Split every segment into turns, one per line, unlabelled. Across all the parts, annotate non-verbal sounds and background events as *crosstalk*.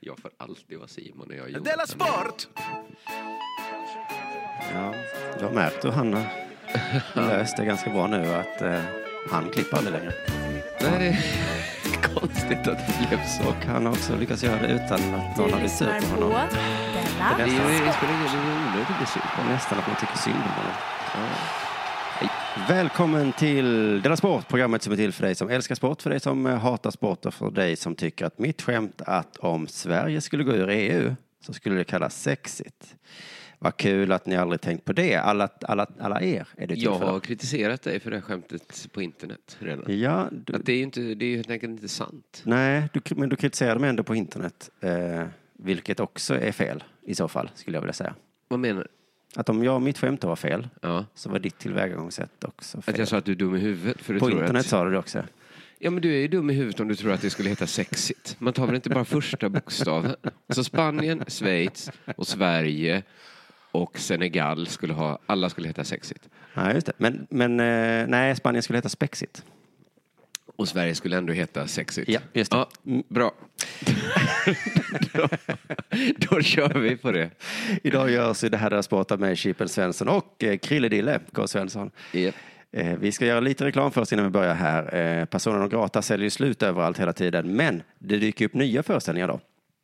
jag får alltid vara Simon när jag är
Della
Jonathan.
Sport!
Ja, jag har märkt
*laughs*
hur han har löst det ganska bra nu att eh, han klipper aldrig längre.
Nej, *laughs* det är konstigt att det blev så.
Och han har också lyckats göra det utan att
Du
någon har blivit sur
lyssnar
på
på
honom.
Det
Della
är
Nästan.
ju- det spelar ingen roll hur onödigt det ser ut.
Och nästan att man tycker synd om honom. Hej. Välkommen till Dela Sport, programmet som är till för dig som älskar sport, för dig som eh, hatar sport och för dig som tycker att mitt skämt att om Sverige skulle gå ur EU så skulle det kallas sexigt. Vad kul att ni aldrig tänkt på det. Alla, alla, alla er är det till
Jag har
för.
kritiserat dig för det här skämtet på internet redan.
Ja, du,
Att det är ju inte, det är ju helt enkelt inte sant.
Nej, du, men du kritiserar dem ändå på internet, eh, vilket också är fel i så fall, skulle jag vilja säga.
Vad menar du?
Att om jag och mitt skämt var fel,
Ja.
så var ditt tillvägagångssätt också fel.
Att jag sa att du är dum i huvudet för du
på
tror
internet
att...
sa du det också.
Ja men du är ju dum i huvudet om du tror att det skulle heta sexigt. Man tar väl inte bara första bokstaven? Alltså Spanien, Schweiz och Sverige och Senegal skulle ha, alla skulle heta sexigt.
Nej, just det. Men, men eh, nej, Spanien skulle heta Spexit.
Och Sverige skulle ändå heta sexigt.
Ja, just det.
Ja, bra. *laughs* då, då kör vi på det.
Idag görs ju det här Della Sport av mig, Chippen Svensson och eh, Krille Dille K. Svensson.
Japp.
Eh, Vi ska göra lite reklam först innan vi börjar här. Eh, Personen och Grata säljer ju slut överallt hela tiden, men det dyker upp nya föreställningar då.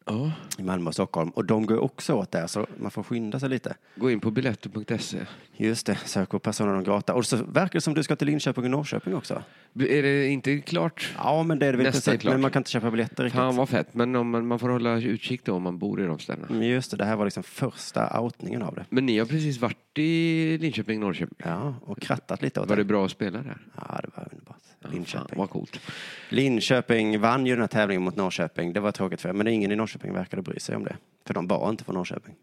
Ja.
i Malmö och Stockholm. Och de går också åt där, så man får skynda sig lite.
Gå in på biletto.se.
Just det, sök på Persona non grata. Och så verkar det som du ska till Linköping och Norrköping också.
Är det inte klart?
Ja, men det är det väl
Nästa
precis.
är klart.
Men man kan inte köpa biljetter riktigt.
Fan vad fett, men om man, man får hålla utkik då om man bor i de ställena.
Mm, Just det, det här var liksom första outningen av det.
Men ni har precis varit i Linköping, Norrköping.
Ja, och krattat lite åt
Var det bra att spela där?
Ja, det var underbart.
Fan,
Linköping.
vad coolt.
Linköping vann ju den här tävlingen mot Norrköping. Det var tråkigt för er, men ingen i Norrköping verkade bry sig om det. För de var inte från Norrköping.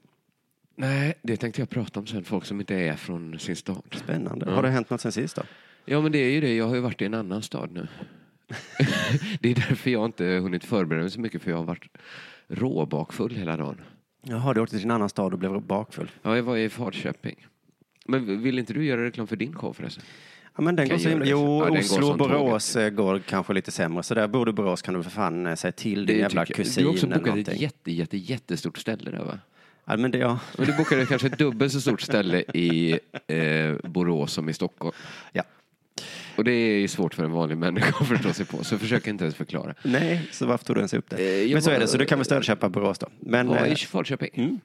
Nej, det tänkte jag prata om sen. Folk som inte är från sin stad.
Spännande. Har det hänt något sen sist då?
Ja, men det är ju det. Jag har ju varit i en annan stad nu. *laughs* det är därför jag inte hunnit förbereda mig så mycket, för jag har varit råbakfull hela dagen.
Jaha, du åkte till en annan stad och blev bakfull.
Ja, jag var i Falköping. Men vill inte du göra reklam för din show förresten?
Ja, men den
Kan
går
jag
så himla...
göra det?
Jo,
Ja, den går
Oslo och
som
Borås eh, går kanske lite sämre. Så där borde Borås kan du för fan eh, säga till din jävla
tycker jag.
kusin
Du har också
eller
bokat ett
någonting.
jätte, jätte, jättestort ställe där va?
Ja, men det, ja.
Men du bokade kanske ett dubbelt så stort ställe i eh, Borås som i Stockholm.
ja.
Och det är ju svårt för en vanlig människa att förstå sig på, så försök inte ens förklara.
Nej, så varför tog du ens upp
Eh,
det?
jag
men så
var-
är det, så du kan väl stödköpa Borås då. Men,
Jag var i
eh,
Falköping. Mm.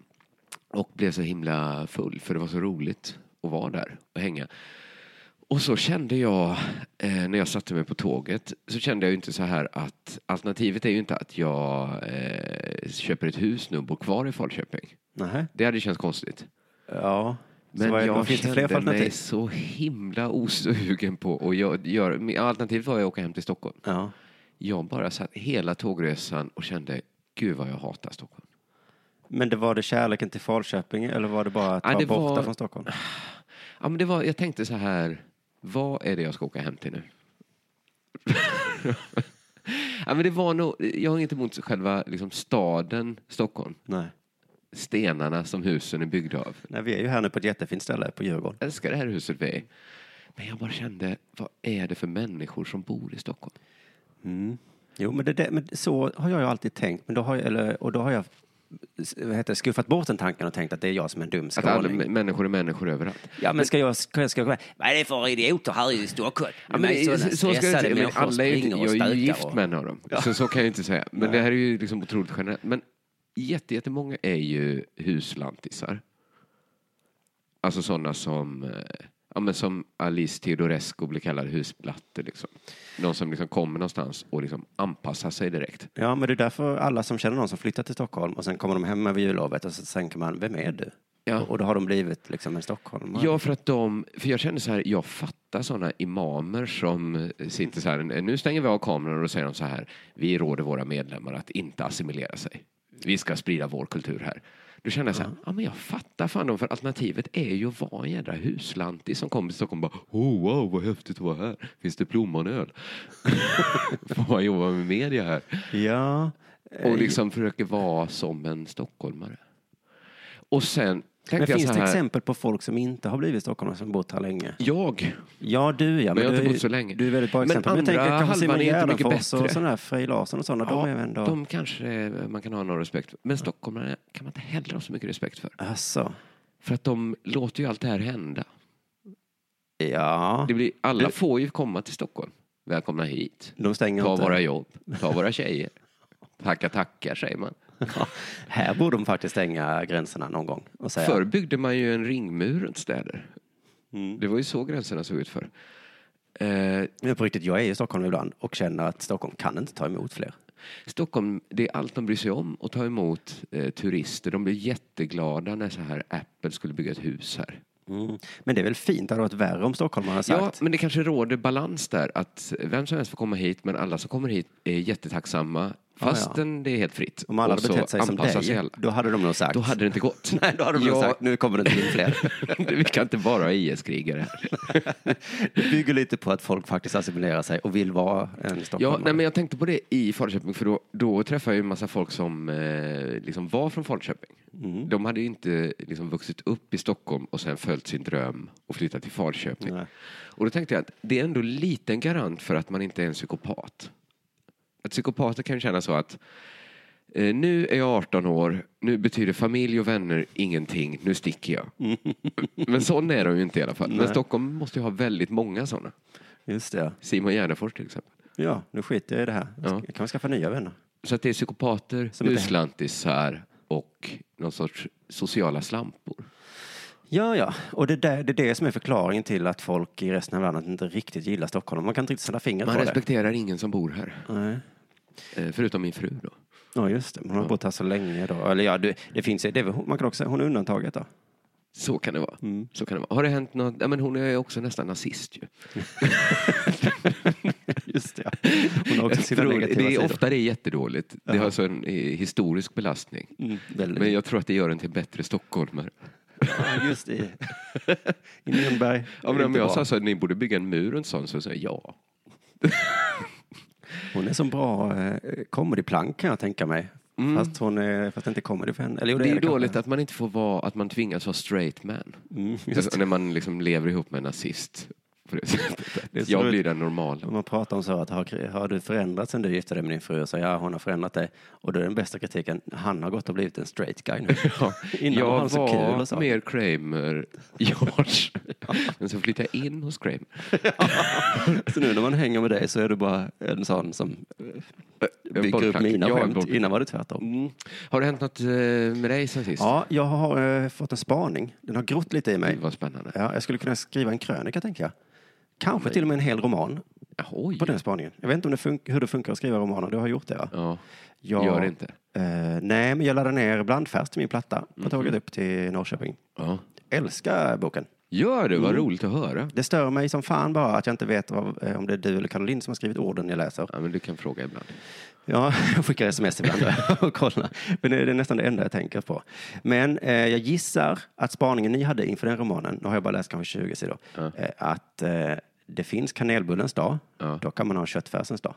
Och blev så himla full, för det var så roligt att vara där och hänga. Och så kände jag, eh, när jag satte mig på tåget, så kände jag ju inte så här att alternativet är ju inte att jag eh, köper ett hus nu och bor kvar i Falköping.
nähä.
Det hade ju känts konstigt.
Ja.
Men
så vad,
jag
vad finns det fler för
kände mig
alternativ?
så himla osugen på att gö- göra... min- Alternativet var ju att åka hem till Stockholm.
Ja.
Jag bara satt hela tågresan och kände, gud vad jag hatar Stockholm.
Men det var det kärleken till Falköping eller var det bara att
Ja,
vara
det
borta
var-
från Stockholm?
Ja, men det var, jag tänkte så här, vad är det jag ska åka hem till nu? *laughs* ja, men det var nog, jag har inget emot själva liksom, staden Stockholm,
Nej.
stenarna som husen är byggda av.
Nej, vi är ju här nu på ett jättefint ställe på Djurgården.
Jag älskar det här huset vi är i. Men jag bara kände, vad är det för människor som bor i Stockholm?
Jo, men, det, där- men så har jag ju alltid tänkt. Men då har jag, eller, och då har jag s- vad heter, det, skuffat bort den tanken och tänkt att det är jag som är en dum
Att alla
skåning.
m- människor är människor överallt.
Ja, men ska jag, ska jag, ska jag
Vad är det för idioter här i Stockholm?
Ja, men,
sådana
så, så ska jag,
stressade
inte- men
människor
alla är, ju inte-
springer och
jag är ju
stökar
gift
och-
med en av dem, så, så kan jag ju inte säga. Men det här är ju liksom otroligt generellt. Men jätte, jättemånga är ju huslantisar. Alltså sådana som, eh, ja, men som Alice Teodorescu blir kallad husplatte. Liksom. Någon som liksom kommer någonstans och liksom anpassar sig direkt.
Ja, men det är därför alla som känner någon som flyttar till Stockholm och sen kommer de hem över jullovet och så tänker man, vem är du?
Ja.
Och då har de blivit liksom en stockholmare.
Ja, för att de, för jag känner så här, jag fattar sådana imamer som sitter så här, nu stänger vi av kameror och då säger de så här, vi råder våra medlemmar att inte assimilera sig. Vi ska sprida vår kultur här. Då känner jag så här, ja men jag fattar fan dem, för alternativet är ju att vara en jädra huslantis som kommer till Stockholm och bara, oh wow vad häftigt att vara här, finns det plommonöl? *laughs* Får man jobba med media här?
ja. Eh,
Och liksom försöker vara som en stockholmare. Och sen tänkte
Men
jag
finns
så
det
här-
exempel på folk som inte har blivit stockholmare som bott här länge?
Jag?
Ja, du ja.
Men jag har inte
du, är ju-
bott så länge.
Du är väldigt bra
Men
exempel. Men jag
andra
tänker kanske Simon
halvan är inte mycket
Gärdenfors och
bättre.
sådana här, Frej Larsson och sådana. de är väl ändå...
de kanske eh, man kan ha någon respekt för. Men stockholmare kan man inte heller ha så mycket respekt för.
Alltså,
För att de låter ju allt det här hända.
ja.
Det blir, alla
Du-
får ju komma till Stockholm. Välkomna hit.
De stänger
Ta
inte.
våra jobb. Ta våra tjejer. Tacka tackar säger man.
*laughs* Ja, här borde de faktiskt stänga gränserna någon gång och säga
Förr byggde man ju en ringmur runt städer. Det var ju så gränserna såg ut förr. Eh,
Mm. Men på riktigt, jag är i Stockholm ibland och känner att Stockholm kan inte ta emot fler.
Stockholm, det är allt de bryr sig om att ta emot eh, turister. De blev jätteglada när så här Apple skulle bygga ett hus här.
Mm. Men det är väl fint, det hade varit värre om Stockholm hade sagt.
Ja, men det kanske råder balans där. Att vem som helst får komma hit, men alla som kommer hit är jättetacksamma. Fastän det är helt fritt.
om alla
Och
hade
så
betett sig som
anpassar
dig,
sig alla.
då hade de nog sagt.
Då hade det inte gått.
*laughs* Nej, då hade de nog
Ja.
sagt, nu kommer det inte in
*laughs*
fler.
Vi kan inte bara ha IS-krigare här.
det bygger lite på att folk faktiskt assimilerar sig och vill vara en
Ja,
stockholmare.
nej, men jag tänkte på det i Falköping för då, då träffade jag ju en massa folk som eh, liksom var från Falköping.
Mm.
De hade ju inte liksom vuxit upp i Stockholm och sen följt sin dröm och flyttat till Falköping.
Nej.
Och då tänkte jag att det är ändå liten garant för att man inte är en psykopat. Att psykopater kan ju känna så att eh, nu är jag 18 år, nu betyder familj och vänner ingenting, nu sticker jag.
*laughs*
Men sådana är de ju inte i alla fall. Men Stockholm måste ju ha väldigt många sådana.
Just det,
Simon Gärdenfors till exempel.
ja. Nu skiter jag i det här. Jag ska-
Ja.
Jag kan skaffa nya vänner.
Så att det är psykopater,
Som inte-
uslantisar och någon sorts sociala slampor.
Ja, ja. Och det, där, det är det som är förklaringen till att folk i resten av landet inte riktigt gillar Stockholm. Man kan inte riktigt sätta fingret
Man
på
respekterar ingen som bor här.
det. Nej.
Eh, Förutom min fru då.
Ja, just det. Hon har bott här så länge då. Eller ja, det, det finns ju, det, är väl- man kan också säga hon är undantaget då. *laughs*
Så kan det vara. Så kan det vara. Har det hänt något? Ja, men hon är också nästan nazist ju.
Just det. ja. Hon har också
Jag
sina
tror,
negativa
det är
sidor.
ofta det är jättedåligt. Det har alltså en eh, historisk belastning.
Mm, väldigt.
Men jag tror att det gör en till bättre stockholmare.
Ja, just *laughs* det. I Nürnberg.
Ja, men
Det
om
är inte
jag
bra.
sa så här, ni borde bygga en mur runt sån, så säger jag ja.
Hon är som bra eh, comedyplank kan jag tänka mig. Fast, hon är, fast Mm. det inte är comedy för henne. Eller, jo,
Det är ju
kanske.
dåligt att man inte får vara, att man tvingas vara straight man.
Mm.
alltså, när man liksom lever ihop med en nazist. På det *laughs* sättet.
Det är så
jag
roligt.
blir den normala. *laughs*
Om man pratar om så att har, har du förändrats sen du gifte dig med din fru? Och så ja, hon har förändrat dig. Och då är den bästa kritiken, han har gått och blivit en straight
*laughs*
guy nu. Innan var
jag
han så
var
kul och så.
mer Kramer, *laughs* George. Men så flyttade jag in hos Kramer.
Så nu när man hänger med dig så är du bara en sån som bygger upp
bollplank.
mina
Jag är
skämt.
bollplank.
Innan var det tvärtom.
Mm. Har det hänt något eh, med dig sen sist?
Ja, jag har eh, fått en spaning. Den har grott lite i
Det
mig.
var spännande.
Ja, jag skulle kunna skriva en krönika, tänker jag. Kanske till och med en hel roman
Oj.
på den spaningen. Jag vet inte om det fun- hur det funkar att skriva romaner. Du har gjort det, va?
Ja.
Jag-
Gör det inte.
Eh, nej, men jag laddade ner Blandfärs till min platta
Mhm.
på tåget upp till Norrköping.
Ja.
Älskar boken.
Gör det, vad
Mm.
roligt att höra.
Det stör mig som fan bara att jag inte vet vad, eh, om det är du eller Caroline som har skrivit orden jag läser.
Ja, men du kan fråga ibland.
Ja, *laughs* jag skickar sms ibland *laughs* och kollar. Men det är nästan det enda jag tänker på. Men eh, jag gissar att spaningen ni hade inför den romanen, nu har jag bara läst kanske 20 sidor, eh, att eh, det finns kanelbullens dag,
Ja.
då kan man ha köttfärsens dag.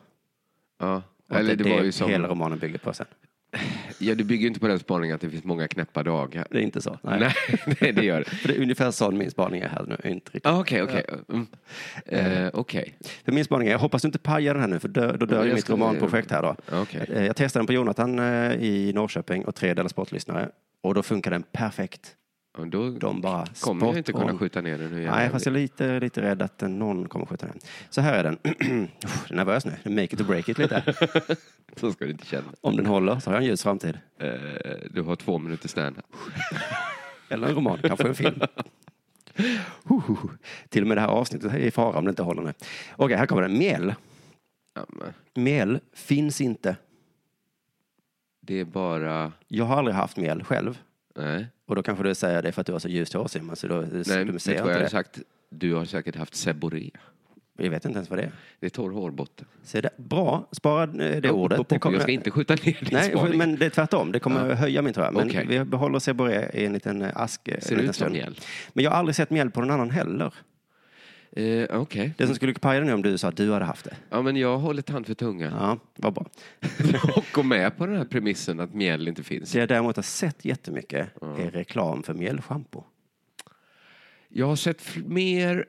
Ja.
Och
Eller det,
är
var ju som...
hela romanen bygger på sen.
Ja, du bygger ju inte på den spaningen att det finns många knäppa dagar.
Det är inte så. Nej.
Nej, *laughs* det, det gör det.
*laughs* För det är ungefär sån min spaning är här nu. Inte riktigt.
Ah, Okej, okej. Mm. Eh, Okej.
För min spaning är, jag hoppas du inte pajar den här nu, för dö, då dör
Ja,
ju
jag
mitt
ska-
romanprojekt här då.
Okej.
Eh, Jag testade den på Jonathan eh, i Norrköping och tre delar sportlyssnare. Och då funkar den perfekt.
Ja, Då
De bara
kommer jag inte
spot on.
kunna skjuta ner den hur gärna
Nej,
jag
fast
vill.
jag är lite, lite rädd att någon kommer skjuta den. Så här är den. *clears throat* Uff, jag är nervös nu. Make it or break it lite.
Så ska du inte känna.
Om den håller så har jag en ljus framtid.
Eh, du har två minuter stand
Eller en roman, kanske en film. *laughs* Hu, hu, hu. Till och med det här avsnittet är i fara om det inte håller nu. Okej, här kommer den. Mjäll.
ja, men
Mjäll finns inte.
Det är bara...
Jag har aldrig haft mjäll själv.
Nej,
Och då kanske du säger det för att du har så ljust hår Simon, så då
Nej
du
vet
ser
du
jag
vad jag
inte
har
det.
sagt? Du har säkert haft seboré.
Jag vet inte ens vad det är.
Det är torr hårbotten.
Så det, bra, spara eh, det ordet.
Pop,
det
pop, pop. Jag ska inte skjuta ner din
Nej,
spaning.
men det är tvärtom. Det kommer höja min tror jag. Men
Okej.
vi behåller Seboré i en liten eh, ask. eh, en
Ser det
liten
ut som
stund.
mjäll?
Men jag har aldrig sett mjäll på någon annan heller.
Eh, Okej.
Det som skulle paja nu om du sa att du hade haft det.
Ja, men jag håller tand för tunga.
Ja, vad bra.
*laughs* Och går med på den här premissen att mjäll inte finns.
Det jag däremot har sett jättemycket är reklam för mjällschampo.
Jag har sett fl- mer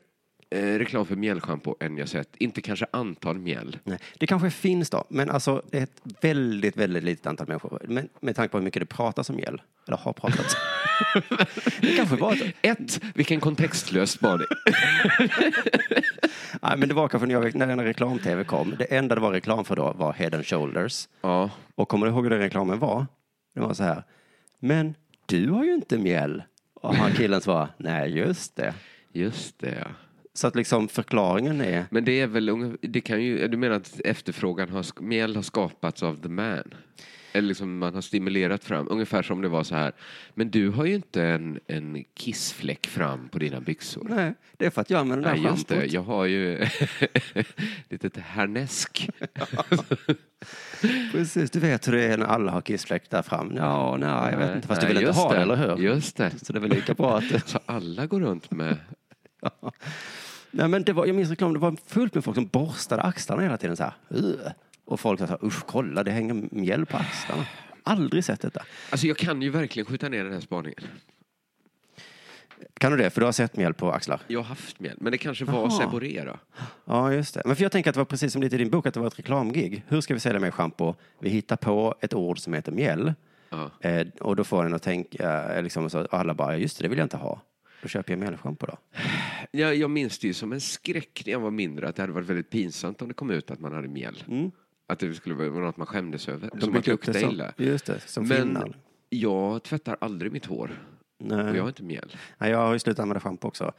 eh, reklam för mjällschampo än jag sett, inte kanske antal mjäll.
Nej, det kanske finns då, men alltså det är ett väldigt, väldigt litet antal människor. Men med tanke på hur mycket det pratas om mjäll, eller har pratats.
*laughs*
det kanske var ett...
Ett, vilken kontextlös
*laughs*
spaning.
Nej, men det var kanske när, jag, när den här reklam-tv kom. Det enda det var reklam för då var Head and Shoulders.
ja,
Och kommer du ihåg hur den reklamen var? Det var så här. Men du har ju inte mjäll. Och han killen svarade, nej just det.
just det. ja.
Så att liksom förklaringen är,
Men det är väl unge- det kan ju, du menar att efterfrågan har, sk- mjäll har skapats av the man? Eller liksom man har stimulerat fram, ungefär som det var så här. Men du har ju inte en, en kissfläck fram på dina byxor.
nej, det är för att jag använder det
Nej,
här
just det.
schampot.
Jag har ju *laughs* litet härnäsk.
Precis, du vet hur det är när alla har kissfläck där fram. Ja, nej, jag vet inte. Fast du
Nej,
vill inte
just
ha det, eller hur?
Just det.
Så det är väl lika bra att...
Så alla går runt med...
Nej, men det var, jag minns reklamen, det var fullt med folk som borstade axlarna hela tiden så här. "Ugh." Och folk sa så här, usch, kolla, det hänger mjäll på axlarna. Aldrig sett detta.
Alltså jag kan ju verkligen skjuta ner den här spaningen.
Kan du det? För du har sett mjäll på axlar?
Jag har haft mjäll, men det kanske var Seboré då.
Ja, just det. Men för jag tänker att det var precis som lite i din bok, att det var ett reklamgig. Hur ska vi sälja mer schampo? Vi hittar på ett ord som heter mjäll.
Ja.
Eh, och då får en att tänka, eh, liksom, så att alla bara, "Ja, just det, det vill jag inte ha. Då köper jag mjällschampo då.
Jag, jag minns det ju som en skräck när jag var mindre att det hade varit väldigt pinsamt om det kom ut att man hade mjäll.
Mm.
Att det skulle vara något man skämdes över. som att lukta
som-
illa.
Just det, som
Men
finnar.
jag tvättar aldrig mitt hår. Och
Nej.
jag har inte mjäll.
Nej, jag har ju slutat använda schampo också.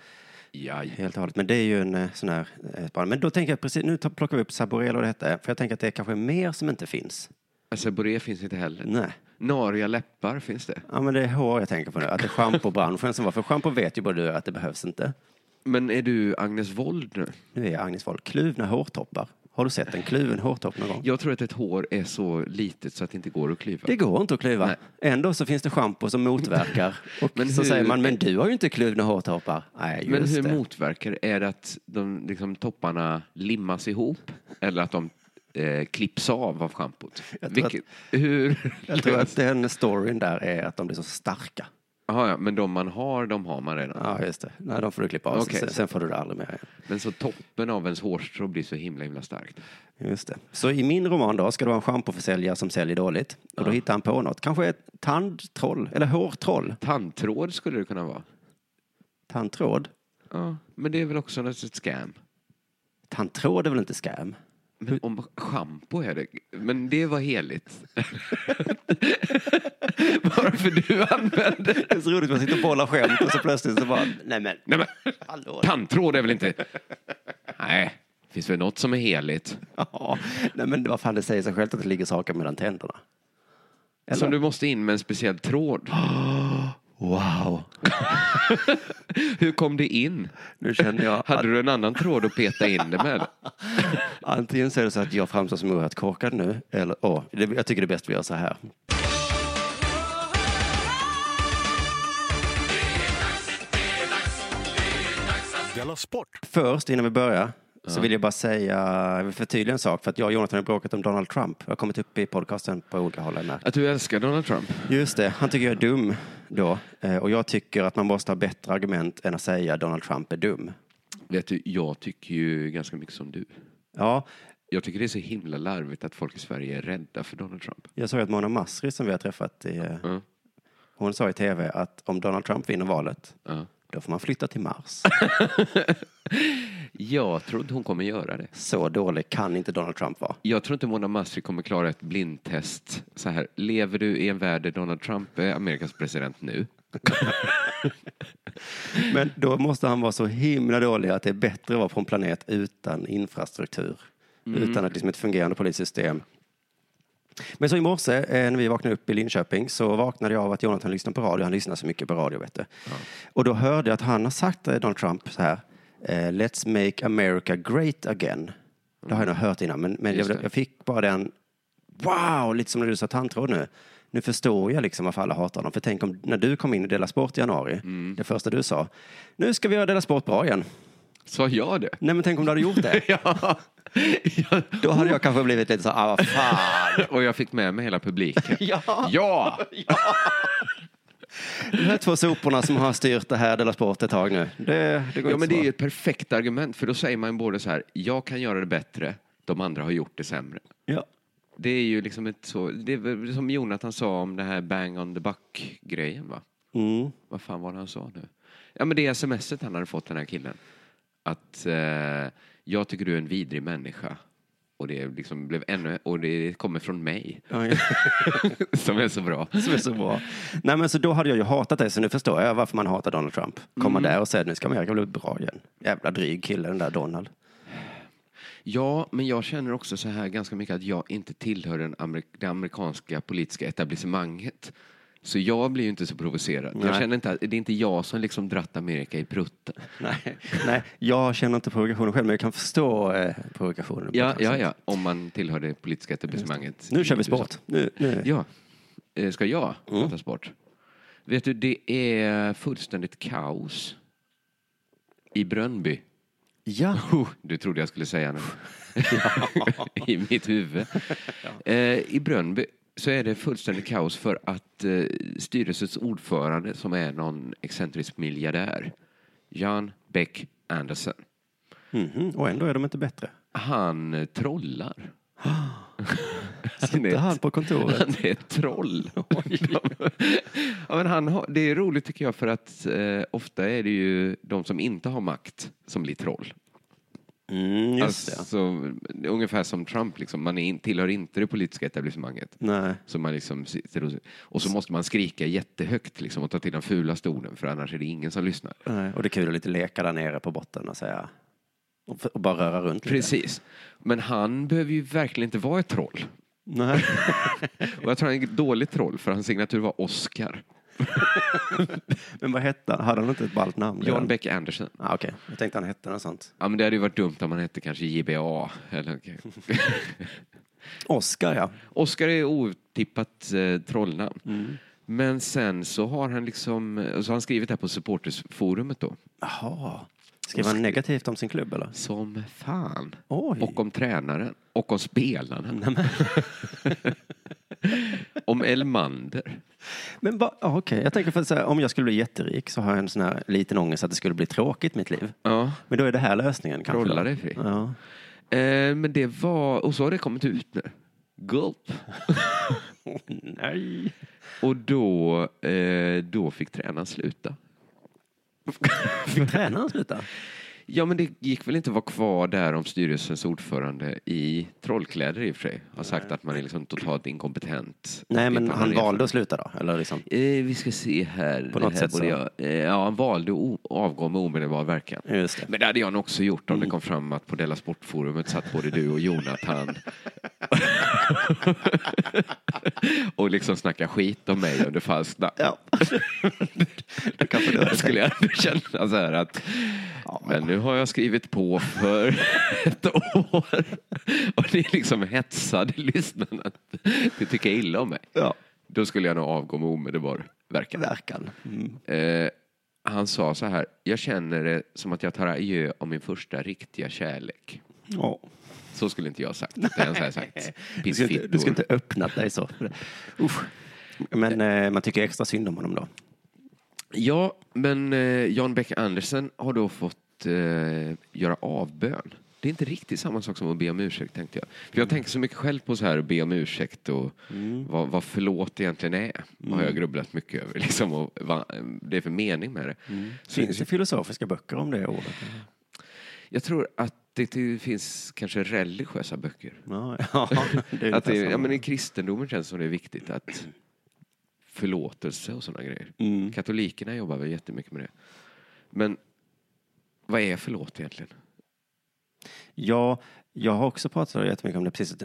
Jaj.
Helt och hållet. Men det är ju en eh, sån här eh, spaning. Men då tänker jag precis, nu tar- plockar vi upp Saboré eller vad det hette. För jag tänker att det är kanske mer som inte finns.
Seboré Alltså, finns inte heller.
Nej.
Nariga läppar finns det.
Ja, men det är hår jag tänker på nu. Att det är schampobranschen som var. För schampo vet ju både du och jag att det behövs inte.
Men är du Agnes Wold nu?
Nu är Agnes Wold kluvna hårtoppar. Har du sett en kluven hårtopp någon gång?
Jag tror att ett hår är så litet så att det inte går att klyva.
Det går inte att klyva.
Nej.
Ändå så finns det schampo som motverkar. Och
*laughs* Men
så
hur-
säger man, men du har ju inte kluvna hårtoppar. Nej,
Men
just
hur
det.
motverkar det? Är det att de, liksom, topparna limmas ihop eller att de eh, klipps av av schampot?
Jag tror att-
Vilket- Hur?
*laughs* Jag tror att den storyn där är att de blir så starka.
Jaha, ja, men de man har, de har man redan.
Ja, just det. Nej, de får du klippa av.
Okej.
Sen, sen får du det aldrig mer igen.
Men så toppen av ens hårstrå blir så himla, himla starkt.
Just det. Så i min roman då ska det vara en schampoförsäljare som säljer dåligt. Och då hittar han på något. Kanske ett tandtroll eller hårtroll.
Tandtråd skulle det kunna vara.
Tandtråd.
Ja, men det är väl också något ett scam.
Tandtråd är väl inte scam? *laughs*
Men om schampo är det, men det var
*laughs*
heligt. *laughs* Bara för du använder
Det är så roligt, man sitter och bollar skämt och så plötsligt så bara, nej men,
Nej, men,
hallå.
tandtråd är väl inte... Nej, finns väl något som är heligt?
Ja, nej men vad fan, det säger sig självt att det ligger saker mellan tänderna. Eller?
Som du måste in med en speciell tråd.
Wow.
Hur kom det in?
Nu känner jag att
Hade du en annan tråd att peta in det med?
antingen så är det så att jag framstår som oerhört korkad nu, eller åh, det, jag tycker det är bäst vi gör så här.
Della Sport!
Först, innan vi börjar, så vill jag bara säga, jag vill förtydliga en sak, för att jag och Jonathan har bråkat om Donald Trump. Jag har kommit upp i podcasten på olika håll. Här.
Att du älskar Donald Trump?
Just det, han tycker jag är dum då. Eh, Och jag tycker att man måste ha bättre argument än att säga Donald Trump är dum.
Vet du, jag tycker ju ganska mycket som du.
Ja,
Jag tycker det är så himla larvigt att folk i Sverige är rädda för Donald Trump.
jag såg att Mona Masri som vi har träffat, i, eh,
Mm.
hon sa i tv att om Donald Trump vinner valet,
Ja.
då får man flytta till *laughs* Mars.
Jag tror inte hon kommer göra det.
Så dålig kan inte Donald Trump vara.
Jag tror inte Mona Masri kommer klara ett blindtest. Så här, lever du i en värld där Donald Trump är Amerikas president nu?
Men då måste han vara så himla dålig att det är bättre att vara på en planet utan infrastruktur.
Mm.
Utan att liksom ett fungerande polissystem. Men så i morse eh, när vi vaknade upp i Linköping så vaknade jag av att Jonathan lyssnar på radio. Han lyssnar så mycket på radio vet du. Och då hörde jag att han har sagt eh, Donald Trump så här. eh, Let's make America great again. Det har jag nog hört innan men, men jag,
Just det.
jag fick bara den Wow, lite som när du sa tandtråd nu. Nu förstår jag liksom varför alla hatar honom. För tänk Mm. om när du kom in i Dela Sport i januari, det första du sa, nu ska vi göra Dela Sport bra igen.
Sa jag det?
Nej men tänk om du hade gjort det.
Ja. *laughs* Ja.
*laughs* Då hade jag kanske blivit lite så här, ah, vad fan.
*laughs* Och jag fick med mig hela publiken.
*laughs* Ja.
Ja!
De här två soporna som har styrt det här Della Sport ett tag nu. Det, det går
Ja,
inte
men
så
det är
bra.
ju ett perfekt argument, för då säger man både så här, jag kan göra det bättre, de andra har gjort det sämre.
Ja.
Det är ju liksom ett så, det är väl som Jonathan sa om det här bang on the buck-grejen va?
Mm.
Vad fan var det han sa nu? Ja men det smset han hade fått den här killen. Att eh, jag tycker du är en vidrig människa. Och det liksom blev ännu, och det kommer från mig. *laughs*
Ja, *laughs* ja.
Som är så bra.
Som är så bra. Nej men så då hade jag ju hatat dig, så nu förstår jag varför man hatar Donald Trump. Komma där och säga nu ska Amerika bli bra igen. Jävla dryg kille den där Donald.
Ja, men jag känner också så här ganska mycket att jag inte tillhör den amerik det amerikanska politiska etablissemanget. Så jag blir ju inte så provocerad. Jag
Nej.
känner inte att, det är inte jag som liksom dratt Amerika i prutten.
Nej, nej, jag känner inte provokationen själv, men jag kan förstå eh, provokationen.
Ja, ja, ja, om man tillhör det politiska etablissemanget.
Nu
i
kör vi
USA.
sport. Nu, nu.
Ja. Eh, Ska jag prata sport? Vet du, det är fullständigt kaos i Brönnby.
Ja.
*laughs* Oh, du trodde jag skulle säga något. *laughs* I mitt huvud. Eh, I Brönnby så är det fullständigt kaos för att eh, styrelsens ordförande som är någon excentrisk miljardär, Jan Beck Andersen,
Mhm, Och ändå är de
*laughs*
inte bättre.
han eh, trollar. Han är
Sitter
ett-
han på
*laughs*
kontoret?
Han är ett *laughs* troll. ja, men han har, det är roligt tycker jag för att eh, ofta är det ju de som inte har makt som blir troll.
Mm, just det.
Alltså, det är ungefär som Trump, liksom. man är in, tillhör inte det politiska etablissemanget.
Nej.
Så man liksom sitter och, och så måste man skrika jättehögt liksom, och ta till den fulaste orden för annars är det ingen som lyssnar.
Nej. Och det är kul att lite leka där nere på botten och säga och, f- och bara röra runt lite.
Precis. Men han behöver ju verkligen inte vara ett troll.
Nej.
Och jag tror han är ett dåligt troll för hans signatur var Oscar.
Men vad hette han? Hade han inte ett ballt namn?
John Beck Anderson.
Ah, Okej, jag tänkte han hette något sånt.
Ja, men det hade ju varit dumt om man hette kanske JBA. Eller...
Oscar ja.
Oscar är otippat eh, trollnamn.
Mm.
Men sen så har han liksom, så har han skrivit det här på supportersforumet då.
Jaha. Skrev han negativt om sin klubb eller?
Som fan.
Oj.
Och om tränaren. Och om spelaren. *laughs* om Elmander.
Men ba, ah, okej, jag tänker för att säga, om jag skulle bli jätterik så har jag en sån här liten ångest att det skulle bli tråkigt mitt liv.
Ja,
Men då är det här lösningen kanske.
trolla
då.
dig fri.
Ja.
Eh, men det var, och så har det kommit ut nu. Gulp.
Nej.
Och då, eh, då fick tränaren sluta.
Fick tränaren sluta?
Ja, men det gick väl inte att vara kvar där om styrelsens ordförande i trollkläder i och för sig har sagt att man är liksom totalt inkompetent.
Nej, men
Inte
han
är-
valde att sluta då? Eller liksom,
Eh, vi ska se här.
På något
här
sätt
borde
så.
jag, eh, ja, han valde att o- avgå med omedelbar verkan.
just det.
Men det hade jag nog också gjort om det kom fram att på Della Sportforumet satt både du och Jonathan *laughs* och liksom snackade skit om mig under falskt namn.
Ja. *laughs* det kanske det
Där *laughs* skulle jag ändå känna så här att men nu har jag skrivit på för *laughs* ett år *laughs* och det är liksom hetsade lyssnarna att det tycker illa om mig.
Ja.
Då skulle jag nog avgå med omedelbar verkan.
Verkan. Mm.
Eh, han sa så här, jag känner det som att jag tar adjö av min första riktiga kärlek.
Ja.
Så skulle inte jag ha sagt. Det hade jag så här sagt.
*laughs* Du ska, inte, du ska
Pissfittor.
inte öppna dig så. Usch. Men eh, man tycker extra synd om honom då.
Ja, men eh, Jan Beck Andersen har då fått eh, göra avbön. Det är inte riktigt samma sak som att be om ursäkt tänkte jag. För
Mm.
jag tänker så mycket själv på så här att be om ursäkt och vad, vad förlåt egentligen är.
Mm.
Har jag grubblat mycket över *laughs* liksom och vad det är för mening med det. Så
Mm. Finns det filosofiska böcker om det ordet?
jag tror att det till- finns kanske religiösa böcker.
Ja, *laughs*
*laughs*
ja. Det är
att det,
ungefär
ja,
samma.
men I kristendomen känns det som det är viktigt att förlåtelse och sådana grejer.
Mm.
Katolikerna jobbar väl jättemycket med det. Men vad är förlåt egentligen?
ja, jag har också pratat jättemycket om
*laughs*
det precis.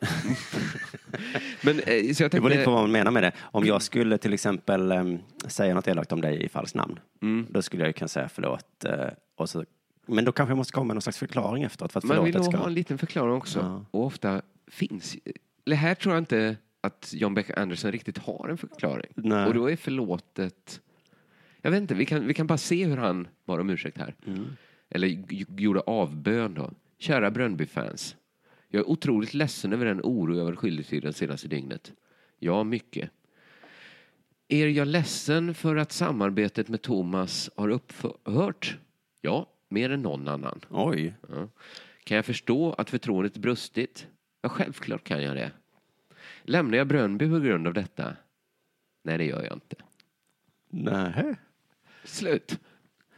Men, eh, så jag
Det beror lite
tänkte,
på vad man menar med det. Om
Mm.
jag skulle till exempel em, säga något elakt om dig i falskt namn,
Mm.
då skulle jag ju kunna säga förlåt. eh, Och så, men då kanske jag måste komma med någon slags förklaring efteråt för att
man vill
förlåtet
nog
ska...
ha en liten förklaring också. Och ofta finns... Eller här tror jag inte att John Beck Anderson riktigt har en förklaring.
Nej.
Och
Mm.
då är förlåtet... Jag vet inte, vi kan, vi kan bara se hur han var om ursäkt här. eller g- gjorde avbön då. Kära Brönnby-fans. Jag är otroligt ledsen över den oro jag varit skyldig till det senaste dygnet. Ja, mycket. Är jag ledsen för att samarbetet med Thomas har upphört? Ja, mer än någon annan.
Oj.
Ja. Kan jag förstå att förtroendet brustit? Ja, självklart kan jag det. Lämnar jag Brönnby på grund av detta? Nej, det gör jag inte.
Nähä.
Slut.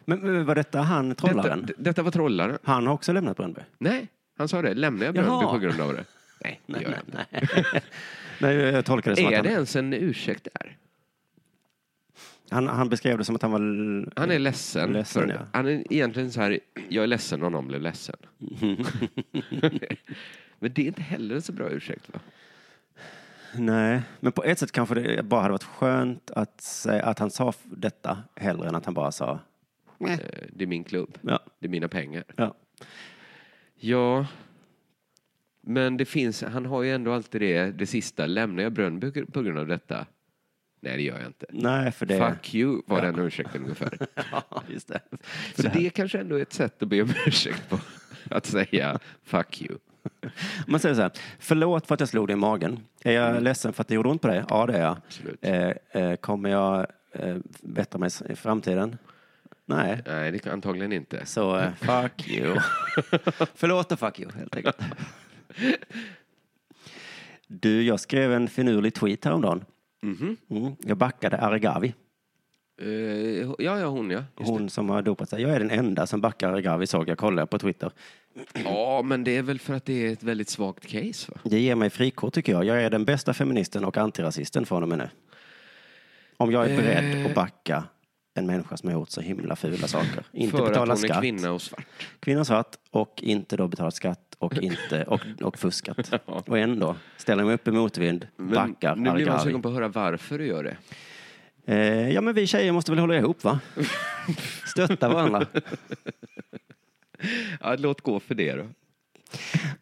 Men, men var detta han,
Detta,
trollaren?
d- detta var trollaren.
Han har också lämnat Brönnby?
Nej, han sa det. Lämnar jag Brönnby
Jaha.
på grund
*laughs*
av det? Nej, det gör jag inte.
Nej, *laughs* jag tolkar det som
Är
att
det
han,
ens en ursäkt där?
han, han beskrev det som att han var... l-
Han är ledsen.
Ledsen,
för,
ja.
Han är egentligen så här, jag är ledsen om någon blev
*laughs*
ledsen. *laughs* Men det är inte heller en så bra ursäkt va?
Nej, men på ett sätt kanske det bara hade varit skönt att, säga, att han sa f- detta hellre än att han bara sa... Nej.
Eh, Det är min klubb.
Ja.
Det är mina pengar.
Ja.
Ja, men det finns, han har ju ändå alltid det, det sista, lämnar jag Brönnby på grund av detta? Nej, det gör jag inte.
Nej, för det...
Fuck you var den ursäkten ungefär.
*laughs* Ja, just det.
Så det kanske ändå är ett sätt att be om ursäkt på, att säga fuck you.
Man säger så här, förlåt för att jag slog dig i magen. Är jag ledsen för att det gjorde ont på dig? Ja, det är jag.
Mm. Absolut.
Eh, eh, kommer jag eh, bättra mig i framtiden? Nej.
Nej, det kan antagligen inte.
Så eh, fuck you.
*laughs*
förlåt och fuck you, helt enkelt. Du, jag skrev en finurlig tweet häromdagen. Mm. Jag backade Arigavi.
Mhm. Eh, ja, ja, hon ja. Just
Hon som har dopat sig. Jag är den enda som backar Arigavi, såg jag. Kollade på Twitter.
det. Ja, men det är väl för att det är ett väldigt svagt case va?
Det ger mig frikort tycker jag. Jag är den bästa feministen och antirasisten från och med nu. Om jag är beredd att backa en människa som har gjort så himla fula saker. Inte
Eh. för att
betala
hon
skatt.
är
Kvinna.
kvinna och svart.
svart och inte då betalat skatt och, inte, och,
*laughs*
och fuskat. Och ändå ställer jag mig upp i motvind,
Men
backar
nu blir man
Argavi.
sugen på att höra varför du gör det.
Eh, ja men vi tjejer måste väl hålla
*laughs*
ihop va? Stötta varandra.
Ja, låt gå för det då.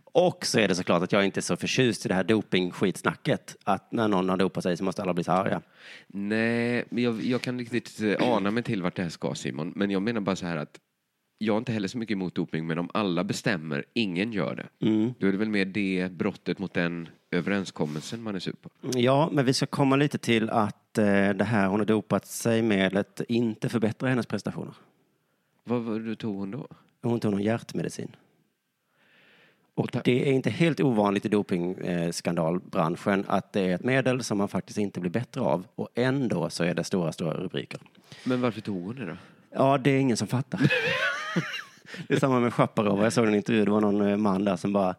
Och så är det såklart att jag inte är så förtjust i det här dopingskitsnacket. Att när någon har dopat sig så måste alla bli så arga.
Nej, men jag, jag kan riktigt
*clears throat*
eh, ana mig till vart det här ska Simon. Men jag menar bara så här att jag har inte heller så mycket emot doping, men om alla bestämmer, ingen gör det.
Mm.
Då är det väl mer det brottet mot den överenskommelsen man är sur på.
Ja, men vi ska komma lite till att eh, det här hon har dopat sig med att inte förbättra hennes prestationer.
Vad var det tog hon då?
Hon tog någon hjärtmedicin. Och
ta-
det är inte helt ovanligt i dopingskandalbranschen att det är ett medel som man faktiskt inte blir bättre av och ändå så är det stora, stora rubriker.
Men varför tog hon det då?
Ja, det är ingen som fattar. *laughs* det är samma med Chaparova. Jag såg en intervju, det var någon eh, man där som bara,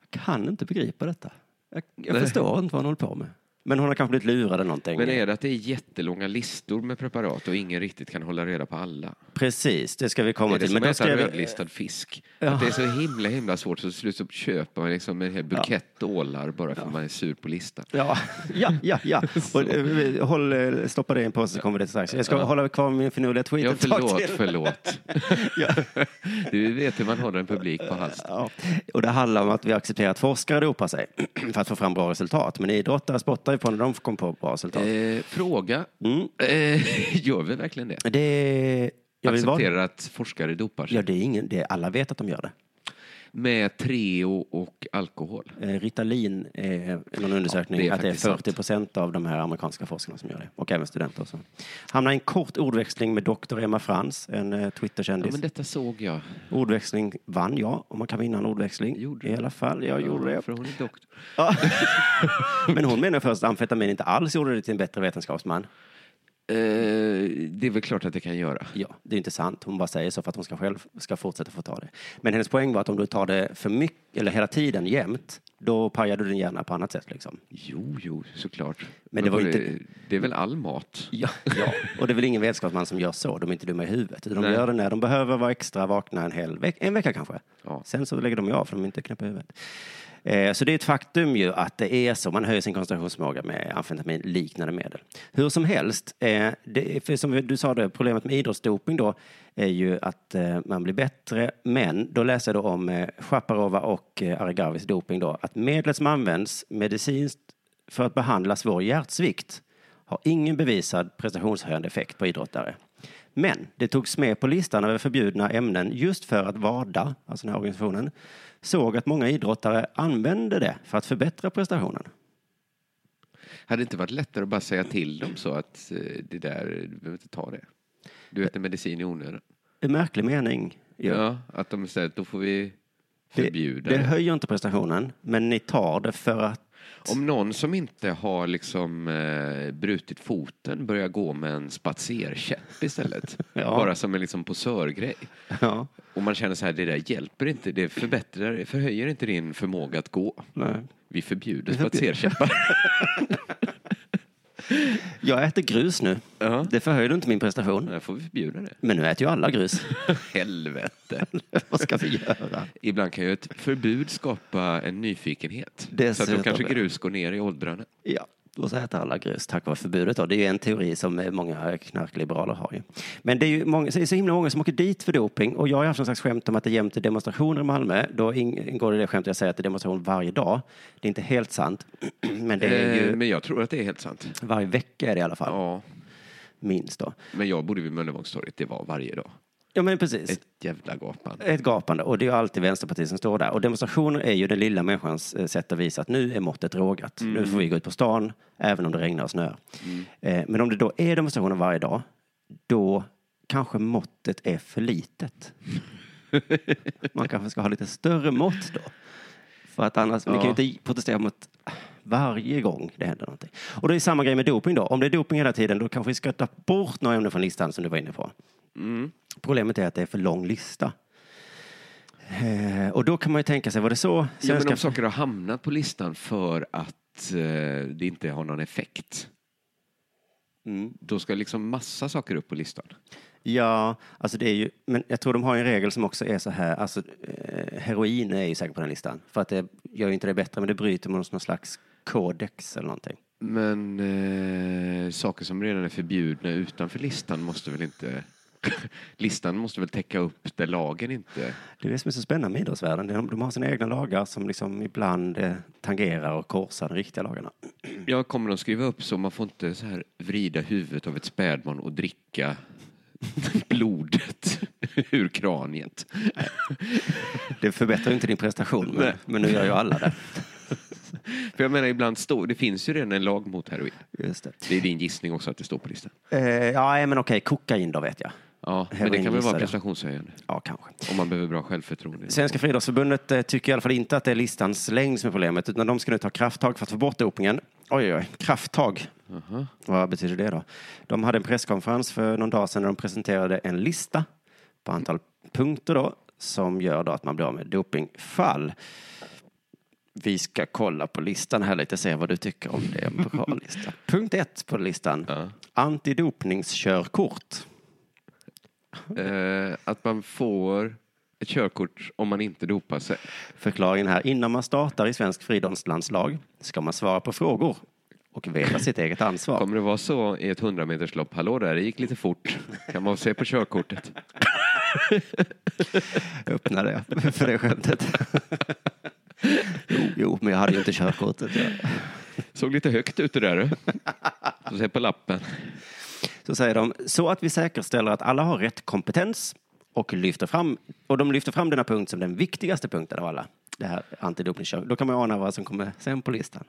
jag kan inte begripa detta. Jag, jag förstår inte vad hon håller på med. Men hon har kanske blivit lurad eller någonting.
Men är det att det är jättelånga listor med preparat och ingen riktigt kan hålla reda på alla?
Precis, det ska vi komma
Är det
till.
som att äta
jag-
rödlistad fisk?
Ja.
Att det är så himla himla svårt så till slut så köper man liksom en hel bukett ålar bara för att man är sur på listan.
Ja, ja, ja.
*laughs*
ja. Och, eh, håll, eh, stoppa det i en påse så kommer det strax. Jag ska hålla kvar min finurliga tweet
Ja,
ett tag
förlåt,
till. *laughs*
förlåt. Du vet hur man håller en publik på halsen.
Ja. Och det handlar om att vi accepterar att forskare dopar sig *clears throat* för att få fram bra resultat. Men idrottare spottar ju på när de kom på bra resultat.
Eh, fråga.
Mm.
Eh, *laughs* gör vi verkligen det?
Det... Jag vill vara...
Accepterar att forskare dopar sig
Ja, det är ingen... Det är... Alla vet att de gör det.
med Treo och alkohol?
Eh, Ritalin är någon undersökning
Ja, det är
att det är
faktiskt sant.
40 procent av de här amerikanska forskarna som gör det. Och även studenter. Också. Hamnar i en kort ordväxling med doktor Emma Frans, en eh,
Ja,
Twitterkändis.
men detta såg jag.
Ordväxling vann jag, om man kan vinna en ordväxling.
Gjorde
I alla fall, jag gjorde det.
För hon är doktor.
Ja. *laughs* Men hon menar först att amfetamin inte alls gjorde det till en bättre vetenskapsman.
Eh, det är väl klart att det kan göra.
Ja, det är ju inte sant. Hon bara säger så för att hon ska själv ska fortsätta få ta det. Men hennes poäng var att om du tar det för mycket, eller hela tiden jämt, då pajar du din hjärna på annat sätt liksom.
Jo, jo, såklart.
Men det var
både-
inte-
Det är väl all mat?
Ja, ja. Och det är väl ingen vetenskapsman som gör så. De är inte dumma i huvudet. utan De
Nej.
gör det när de behöver vara extra vakna en hel vecka, en vecka kanske.
Ja.
Sen så lägger de ju av för de är inte knäppa i huvudet. Eh, så det är ett faktum ju att det är så. Man höjer sin koncentrationsförmåga med amfetamin liknande medel. Hur som helst, eh, det, är- för som du sa, det, problemet med idrottsdoping då är ju att eh, man blir bättre. Men då läser jag då om eh, Chaparova och eh, Arigavis doping då. Att medlet som används medicinskt för att behandla svår hjärtsvikt har ingen bevisad prestationshöjande effekt på idrottare. Men det togs med på listan över förbjudna ämnen just för att WADA, alltså den här organisationen, såg att många idrottare använde det för att förbättra prestationen.
*laughs* Hade det inte varit lättare att bara säga till dem så att eh, det där, du behöver inte ta det. Du äter medicin i onödan.
En märklig mening. ju.
Ja, att de istället, då får vi
det,
förbjuda
det
det.
höjer inte prestationen, men ni tar det för att...
Om någon som inte har liksom eh, brutit foten börjar gå med en spatserkäpp istället.
*laughs* Ja.
Bara som en liksom posörgrej.
Ja,
Och man känner så här, det där hjälper inte, det förbättrar, förhöjer inte din förmåga att gå.
nej.
Vi förbjuder
förbjuder. *laughs*
spatserkäppar.
Jag äter grus nu.
Ja.
Det förhöjde inte min prestation.
Där får vi förbjuda det.
Men nu äter ju alla grus. *laughs*
Helvete.
Vad ska vi göra?
Ibland kan ju ett förbud skapa en nyfikenhet. Så att
Dessutom.
då kanske grus går ner i åldrarna.
Ja, och så äter alla grus tack vare förbudet. Då. Det är ju en teori som eh, många knarkliberaler har. Ju. Men det är ju många, det är så himla många som åker dit för doping. Och jag har ju haft någon slags skämt om att det jämt är demonstrationer i Malmö. Då ing- ingår det i det skämtet jag säger att det är demonstration varje dag. Det är inte helt sant. *clears throat* Men det är
Eh,
ju,
men jag tror att det är helt sant.
varje vecka är det i alla fall.
Ja,
Minst då.
men jag bodde vid Möllevångstorget, det var varje dag.
Ja, men precis.
Ett jävla gapande.
Ett gapande. Och det är ju alltid Vänsterpartiet som står där. Och demonstrationer är ju den lilla människans eh, sätt att visa att nu är måttet rågat. Nu får vi gå ut på stan, även om det regnar och snöar. Eh, Men om det då är demonstrationer varje dag, då kanske måttet är för litet. Man kanske ska ha lite större mått då. För att annars, vi kan ju inte protestera mot varje gång det händer någonting. Och det är samma grej med doping då. Om det är doping hela tiden, då kanske vi ska ta bort några ämnen från listan som du var inne på.
Mm.
Problemet är att det är för lång lista. Eh, och då kan man ju tänka sig, var det så?
Ja, men
svenska-
om saker har hamnat på listan för att eh, det inte har någon effekt. Då ska liksom massa saker upp på listan.
Mm. Ja, alltså det är ju, men jag tror de har en regel som också är så här, alltså eh, heroin är ju säkert på den listan. För att det gör ju inte det bättre, men det bryter mot någon slags kodex eller någonting.
Men eh, saker som redan är förbjudna utanför listan måste väl inte... *laughs* listan måste väl täcka upp där lagen inte...
Det är det som är så spännande med idrottsvärlden. De, de har sina egna lagar som liksom ibland eh, tangerar och korsar de riktiga lagarna.
Jag kommer att skriva upp så man får inte så här vrida huvudet av ett spädbarn och dricka *laughs* blodet *laughs* ur kraniet.
Det förbättrar ju inte din prestation, men, men nu gör ju alla det.
*laughs* För jag menar ibland står, det finns ju redan en lag mot heroin.
Just det.
Det är din gissning också att det står på listan.
Eh, ja, nej, men okej, kokain då vet jag.
Ja, men det kan
Heroin
väl
gissar
vara
jag.
prestationshöjande
Ja, kanske.
om man behöver bra självförtroende.
Svenska friidrottsförbundet eh, tycker i alla fall inte att det är listans längd som är problemet, utan de ska nu ta krafttag för att få bort dopingen. Oj, oj, oj. Krafttag. Vad betyder det då? De hade en presskonferens för någon dag sedan när de presenterade en lista på antal punkter då, som gör då att man blir av med dopingfall. Vi ska kolla på listan här lite och se vad du tycker om det. är En bra lista. Punkt ett på listan. Antidopningskörkort.
Eh, att man får ett körkort om man inte dopar sig.
Förklaringen här. Innan man startar i svensk friidrottslandslag ska man svara på frågor och veta sitt eget ansvar.
Kommer det vara så i ett 100-meterslopp? Hallå där, det gick lite fort. Kan man se på körkortet?
Öppnade jag för det skämtet. jo, jo, men jag hade ju inte körkortet.
Såg lite högt ut det där du. Så se på lappen.
Så säger de, så att vi säkerställer att alla har rätt kompetens och lyfter fram, och de lyfter fram denna punkt som den viktigaste punkten av alla. Det här antidopningskör. Då kan man ju ana vad som kommer sen på listan.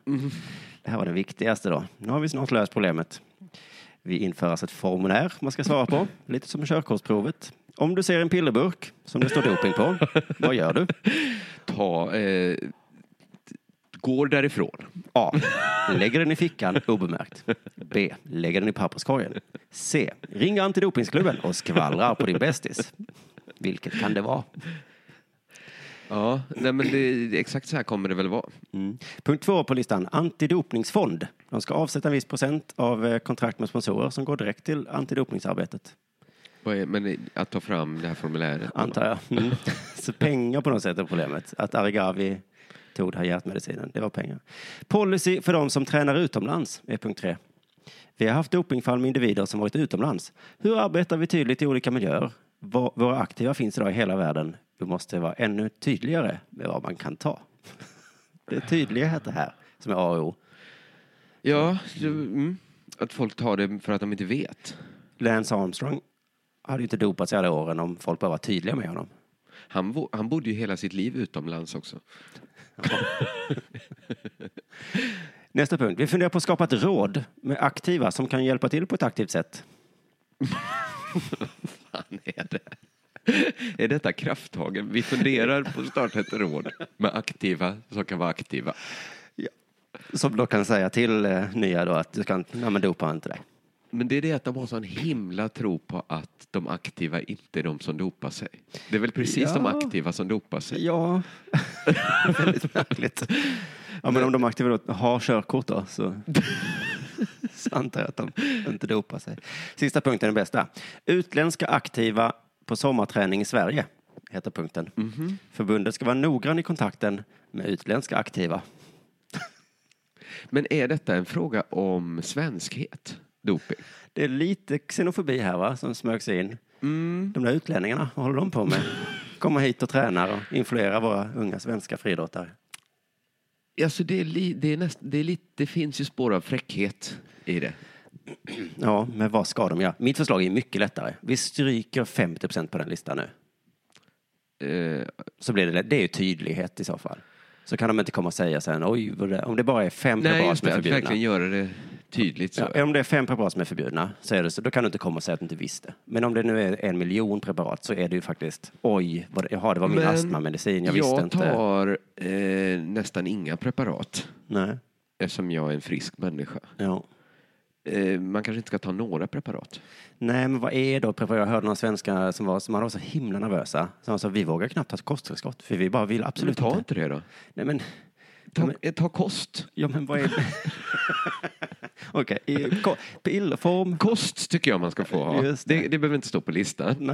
Det här var den viktigaste då. Nu har vi snart löst problemet. Vi inför alltså ett formulär man ska svara på, lite som körkortsprovet. Om du ser en pillerburk som det står doping på, vad gör du?
Ta... Eh, går därifrån.
A. Lägger den i fickan obemärkt. B. Lägger den i papperskorgen. C. Ring antidopingsklubben och skvallrar på din bästis. Vilket kan det vara?
Ja, nej men det, exakt så här kommer det väl vara.
Mm. Punkt två på listan. Antidopningsfond. De ska avsätta en viss procent av eh, kontrakt med sponsorer som går direkt till antidopningsarbetet.
Vad är- Men eh, att ta fram det här formuläret.
Antar jag. Mm. *laughs* Så pengar på något sätt är problemet. Att Arigavi tog den här hjärtmedicinen, det var pengar. Policy för de som tränar utomlands är punkt tre. Vi har haft dopingfall med individer som varit utomlands. Hur arbetar vi tydligt i olika miljöer? Vå- Våra aktiva finns idag i hela världen. Vi måste vara ännu tydligare med vad man kan ta. *laughs* Det är tydlighet det här som är A och O.
Ja, det- mm. att folk tar det för att de inte vet.
Lance Armstrong hade ju inte dopats i alla åren om folk bara var tydliga med honom.
Han, bo, han bodde ju hela sitt liv utomlands också. *laughs*
Nästa punkt. Vi funderar på att skapa ett råd med aktiva som kan hjälpa till på ett aktivt sätt.
Fan är det? Är detta krafttagen? Vi funderar på att starta ett råd med aktiva som kan vara aktiva.
Som då kan säga till eh, nya då att du kan, nej men dopa inte dig.
Men det är det att de har sån himla tro på att de aktiva inte är de som dopar sig. Det är väl precis de
Ja.
aktiva som dopar sig?
Ja, *laughs* väldigt märkligt. Ja, men om de aktiva då har körkort då så, *laughs* så antar jag att de inte dopar sig. Sista punkten är den bästa. Utländska aktiva på sommarträning i Sverige heter punkten. Förbundet ska vara noggrann i kontakten med utländska aktiva.
Men är detta en fråga om svenskhet? Doping?
Det är lite xenofobi här va, som smög sig in.
Mm.
De där utlänningarna, vad håller de på med? Komma hit och träna och influera våra unga svenska friidrottare.
Alltså det, är li, det, är näst, det, är lite, det finns ju spår av fräckhet i det.
Ja, men vad ska de göra? Mitt förslag är mycket lättare. Vi stryker 50 på den listan nu.
Eh,
Så blir det, lätt. det är ju tydlighet i så fall. Så kan de inte komma och säga sen, oj, vad det, om det bara är fem
nej,
preparat
just
som är
det, att verkligen
förbjudna.
göra det tydligt. Så.
Ja, om det är fem preparat som är förbjudna, så är det så, då kan du inte komma och säga att du inte visste. Men om det nu är en miljon preparat så är det ju faktiskt, oj, vad det, jaha, det var min
Men
astmamedicin, jag, visste inte.
tar eh, nästan inga preparat
Nej,
eftersom jag är en frisk människa.
ja.
Eh, man kanske inte ska ta några preparat.
Nej, men vad är då preparat? Jag hörde några svenskar som var, som var så himla nervösa. Som sa, vi vågar knappt ta ett kosttillskott, för vi bara vill
Men
absolut
ta
inte.
inte det då.
Nej, men
Ta, eh, ta kost.
Ja, men vad är... *laughs* Okej, i ko- pillerform.
Kost tycker jag man ska få ha.
Just det.
det. Det, behöver inte stå på listan.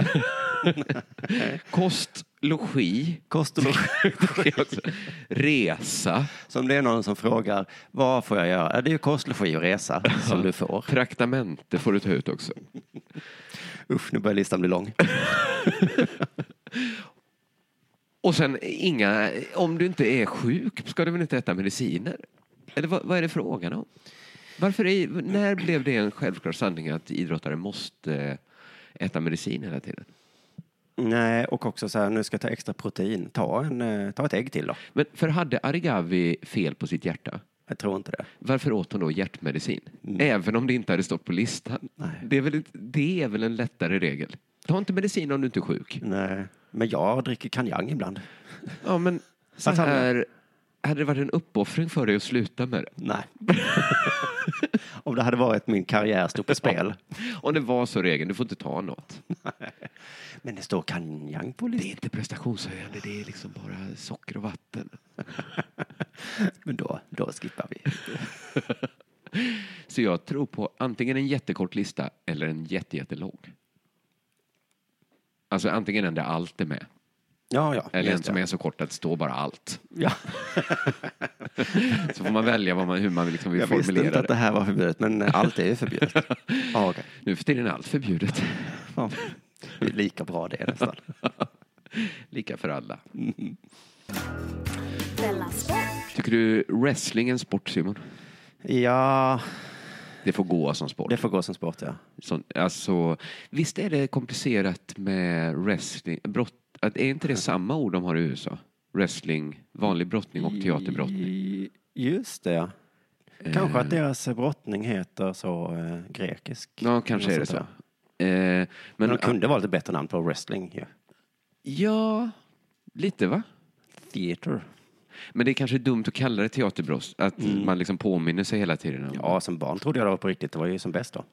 Kost,
*laughs*
logi, Alltså,
Kost och
*laughs*
logi.
resa,
Så om det är någon som frågar, vad får jag göra? Ja, det är ju kost, logi och resa som du får.
traktamente får du ta ut också.
Usch, nu börjar listan bli lång.
Och sen inga, om du inte är sjuk ska du väl inte äta mediciner? Eller vad, vad är det frågan om? Varför är, när blev det en självklar sanning att idrottare måste äta medicin hela tiden?
Nej, och också så här, nu ska jag ta extra protein. Ta, en, eh, ta ett ägg till då.
Men för hade Arigavi fel på sitt hjärta?
Jag tror inte det.
Varför åt hon då hjärtmedicin? Även om det inte hade stått på listan.
Nej.
Det, är väl, inte- det är väl en lättare regel? Ta inte medicin om du inte är sjuk.
Nej, men jag dricker kanjang ibland.
Ja, men så
Att han-
här, hade det varit en uppoffring för dig att sluta med det?
Nej. *laughs* om det hade varit min karriär *laughs* stod på spel.
Om det var så regeln, du får inte ta något.
Men det står kanjang på
Det är
listan.
inte prestationshöjande, det är liksom bara socker och vatten.
Men då, då skippar vi.
Så jag tror på antingen en jättekort lista eller en jätte, jättelång. Alltså antingen en där allt är med.
Ja, ja.
Eller en
just
som
det.
är så kort att det står bara allt.
Ja.
*laughs* Så får man välja vad man, hur man liksom vill
Jag visste
formulera
inte att
det.
det här var förbjudet, men eh, allt är
*laughs*
ju förbjudet. ja, okej.
Nu för tiden är allt
*laughs*
förbjudet.
Ja. Det är lika bra det nästan.
Lika för alla.
Della Sport.
Tycker du wrestling är en sport, Simon?
Ja,
Det får gå som sport.
det får gå som sport, ja.
Sån, alltså, visst är det komplicerat med wrestling? Brott, att, är inte det samma ord de har i USA? Wrestling, vanlig brottning och teaterbrottning.
I- Just det, ja. Kanske
Eh.
att deras brottning heter så eh, grekisk.
Ja, kanske är det
Något
så.
sånt
Eh,
där.
men,
Men de kunde valt ett bättre namn på wrestling ju.
Ja, lite va?
Theater.
Men det är kanske dumt att kalla det teaterbrott, att
Mm.
man liksom påminner sig hela tiden om
Ja, som barn trodde jag det var på riktigt. Det var ju som bäst då.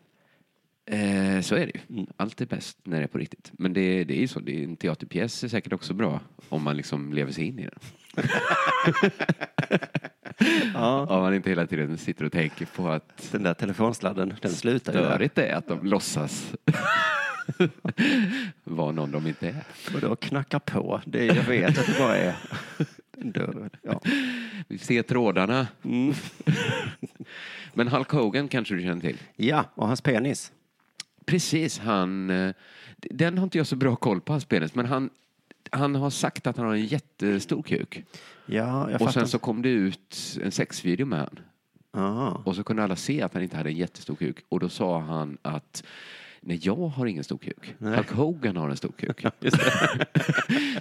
Eh, så är det ju. Allt är bäst när det är på riktigt. Men det, det är ju så. Det är, en teaterpjäs är säkert också bra om man liksom lever sig in i den. Om man inte hela tiden sitter och tänker på att
Den där telefonsladden, den slutar ju där.
störigt det är att de låtsas *laughs* vara någon de inte är.
Och då knackar på. Det är, jag vet att det bara är en dörr. Ja.
Vi ser trådarna. *laughs* Men Hulk Hogan kanske du känner till?
ja, och hans penis.
Precis, han... eh, Den har inte jag så bra koll på, hans penis, men han, han har sagt att han har en jättestor kuk.
Ja, jag
Och
fattar.
sen så kom det ut en sexvideo med han.
Aha.
Och så kunde alla se att han inte hade en jättestor kuk. Och då sa han att nej jag har ingen stor kuk. Hulk Hogan har en stor
*laughs*
kuk. *laughs*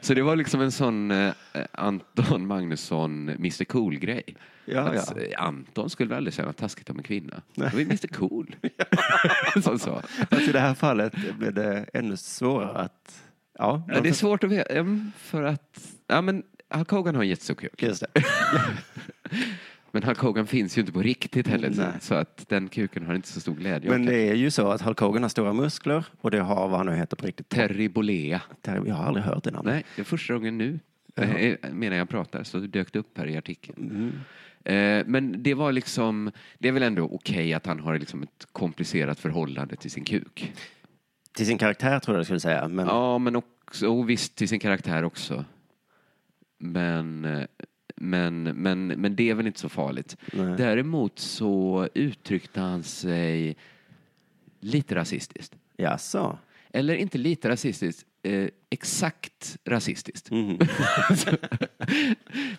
så det var liksom en sån eh, Anton Magnusson, Mr Cool-grej.
Ja,
Att,
ja.
eh, Anton skulle väl aldrig säga något taskigt om en kvinna. Det var ju Mr
*laughs*
Cool. som sa.
Fast i det här fallet blev det ännu svårare att... Ja,
Ja, det är svårt att veta. em, För att, ja men Hulk Hogan har en jättestor kuk.
just det.
Men Hulk Hogan finns ju inte på riktigt heller.
Nej.
Så att den kuken har inte så stor glädje.
Men
Men
det är ju så att Hulk Hogan har stora muskler och det har vad han nu heter på riktigt.
Terry Bollea.
Ter- Jag har aldrig hört det namnet.
Nej, det är första gången nu. eh, Medan jag pratar så dök det upp här i artikeln. Eh, Men det var liksom, det är väl ändå okej att han har liksom ett komplicerat förhållande till sin kuk.
Till sin karaktär tror jag jag skulle säga. Men
Ja, men också, och visst till sin karaktär också. Men, eh, men, men, men det är väl inte så farligt.
Nej.
Däremot så uttryckte han sig lite rasistiskt.
jaså?
Eller inte lite rasistiskt, eh, exakt rasistiskt.
Mm.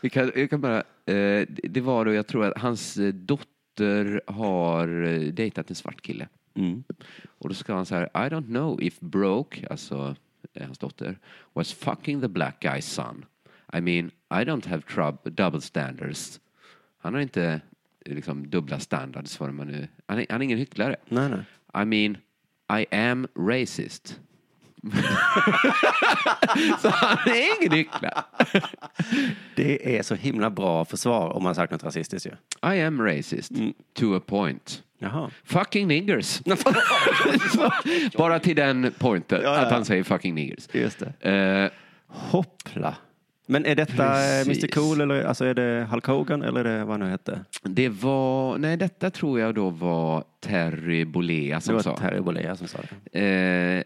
vi kan, jag kan bara, eh, det- det var då, jag tror att hans eh, dotter har eh, dejtat en svart kille.
Mm.
Och då ska han så här, I don't know if Broke, alltså eh, hans dotter, was fucking the black guy's son. I mean, I don't have trub- double standards. Han har inte eh, liksom dubbla standards, vad man nu... Han är, han är ingen hycklare.
Nej, nej.
I mean, I am racist. *laughs* så han är ingen hycklare.
Det är så himla bra försvar om man sagt något rasistiskt ju.
I am racist, to a point.
Jaha.
Fucking niggers.
*laughs*
*laughs* Bara till den pointen,
Ja, ja.
att han säger fucking niggers.
Just det.
Eh,
Hoppla. Men är detta eh,
Precis.
Mr Cool eller alltså är det Hulk Hogan eller är det vad han nu hette?
det var, nej detta tror jag då var Terry Bollea
Det
som
var
sa.
Terry Bollea som sa det.
Eh,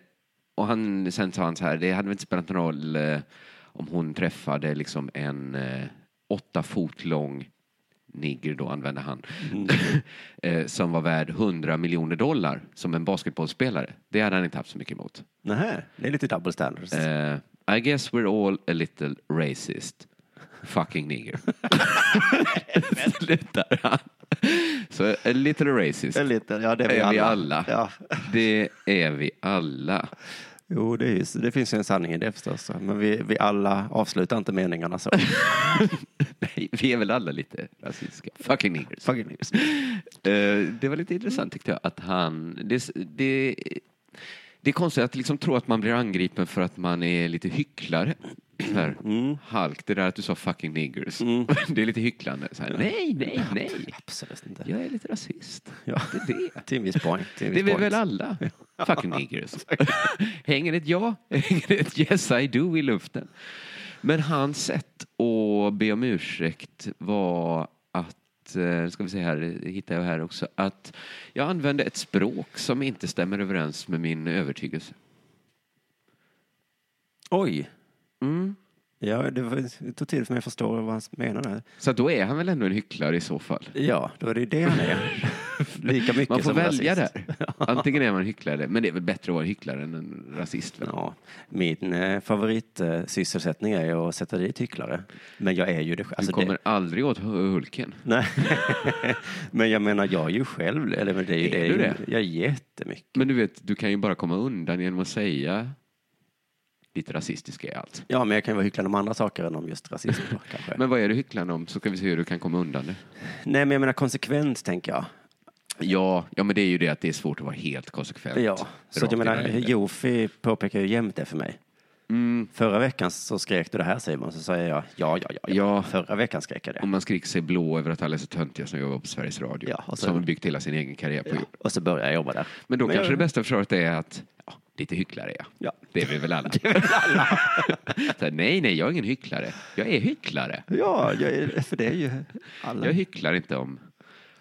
och han, sen sa han så här, det hade väl inte spelat någon roll eh, om hon träffade liksom en eh, åtta fot lång nigger då använde han,
Mm.
*laughs* eh, som var värd 100 miljoner dollar som en basketbollspelare. Det hade han inte haft så mycket emot.
Nej, det är lite double standards.
Eh, I guess we're all a little racist. Fucking nigger. *laughs* Slutar han. Så a little racist.
Det är lite, ja det är vi
är
alla.
vi alla.
Ja.
Det är vi alla.
Jo, det, är ju, det finns ju en sanning i det förstås. Men vi, vi alla avslutar inte
*laughs*
meningarna så.
Nej, vi är väl alla lite rasistiska. Fucking niggers.
Fucking news.
Eh, det var lite intressant tyckte jag att han... Det, det, det är konstigt att liksom tro att man blir angripen för att man är lite hycklare. Så här, Halk, det där att du sa fucking niggers. *laughs* Det är lite hycklande. Så här, nej, nej, nej.
Absolut inte.
Jag är lite rasist.
*laughs* Ja.
Det är det.
Till en viss point. Till en
Det är
viss
vi
point.
väl
*laughs*
alla? Fucking niggers. *laughs* hänger ett ja, *laughs* hänger ett yes I do i luften. Men hans sätt att be om ursäkt var att, eh, ska vi se här, det hittar jag här också, att jag använde ett språk som inte stämmer överens med min övertygelse.
Oj! Mm. Ja, det, var, det tog tid för mig att förstå vad han menade. här.
Så att då är han väl ändå en hycklare i så fall.
Ja, då är det ju det han är.
*laughs*
Lika mycket
Man får
som
välja
rasist.
där.
*laughs*
Antingen är man en hycklare, men det är väl bättre att vara en hycklare än en rasist. Väl?
Ja, min eh, favoritsysselsättning är ju att sätta dit hycklare. Men jag är ju det
Du
alltså
kommer
Det,
aldrig åt Hulken.
nej. *laughs* men jag menar, jag är ju själv, eller men det är ju
Är
det.
du det?
Jag är jättemycket.
Men du vet, du kan ju bara komma undan genom att säga lite rasistiska är allt.
Ja, men jag kan ju vara hycklande om andra saker än om just rasism då, kanske.
Men vad är du hycklande om så ska vi se hur du kan komma undan det.
Nej, men jag menar konsekvent, tänker jag.
Ja, ja men det är ju det att det är svårt att vara helt konsekvent.
Ja, så
Rakt
att jag menar,
i vägen.
Jofi påpekar ju jämt det för mig.
Mm.
Förra veckan så skrek du det här Simon, så säger jag ja, ja, ja, ja.
Ja. Mm.
Förra veckan skrek jag det.
Om man skriker sig blå över att alla är så töntiga som jobbar på Sveriges Radio.
Ja, och så-
som har byggt hela sin egen karriär på jord.
Och så började jag jobba där.
alltså- Men då
Men jag-
kanske det bästa försvaret är att ja, lite hycklare är jag.
Ja.
*laughs* Det är vi väl alla. så här, nej, nej, jag är ingen hycklare. Jag är hycklare.
Ja, jag är, för det är ju alla
Jag hycklar inte om,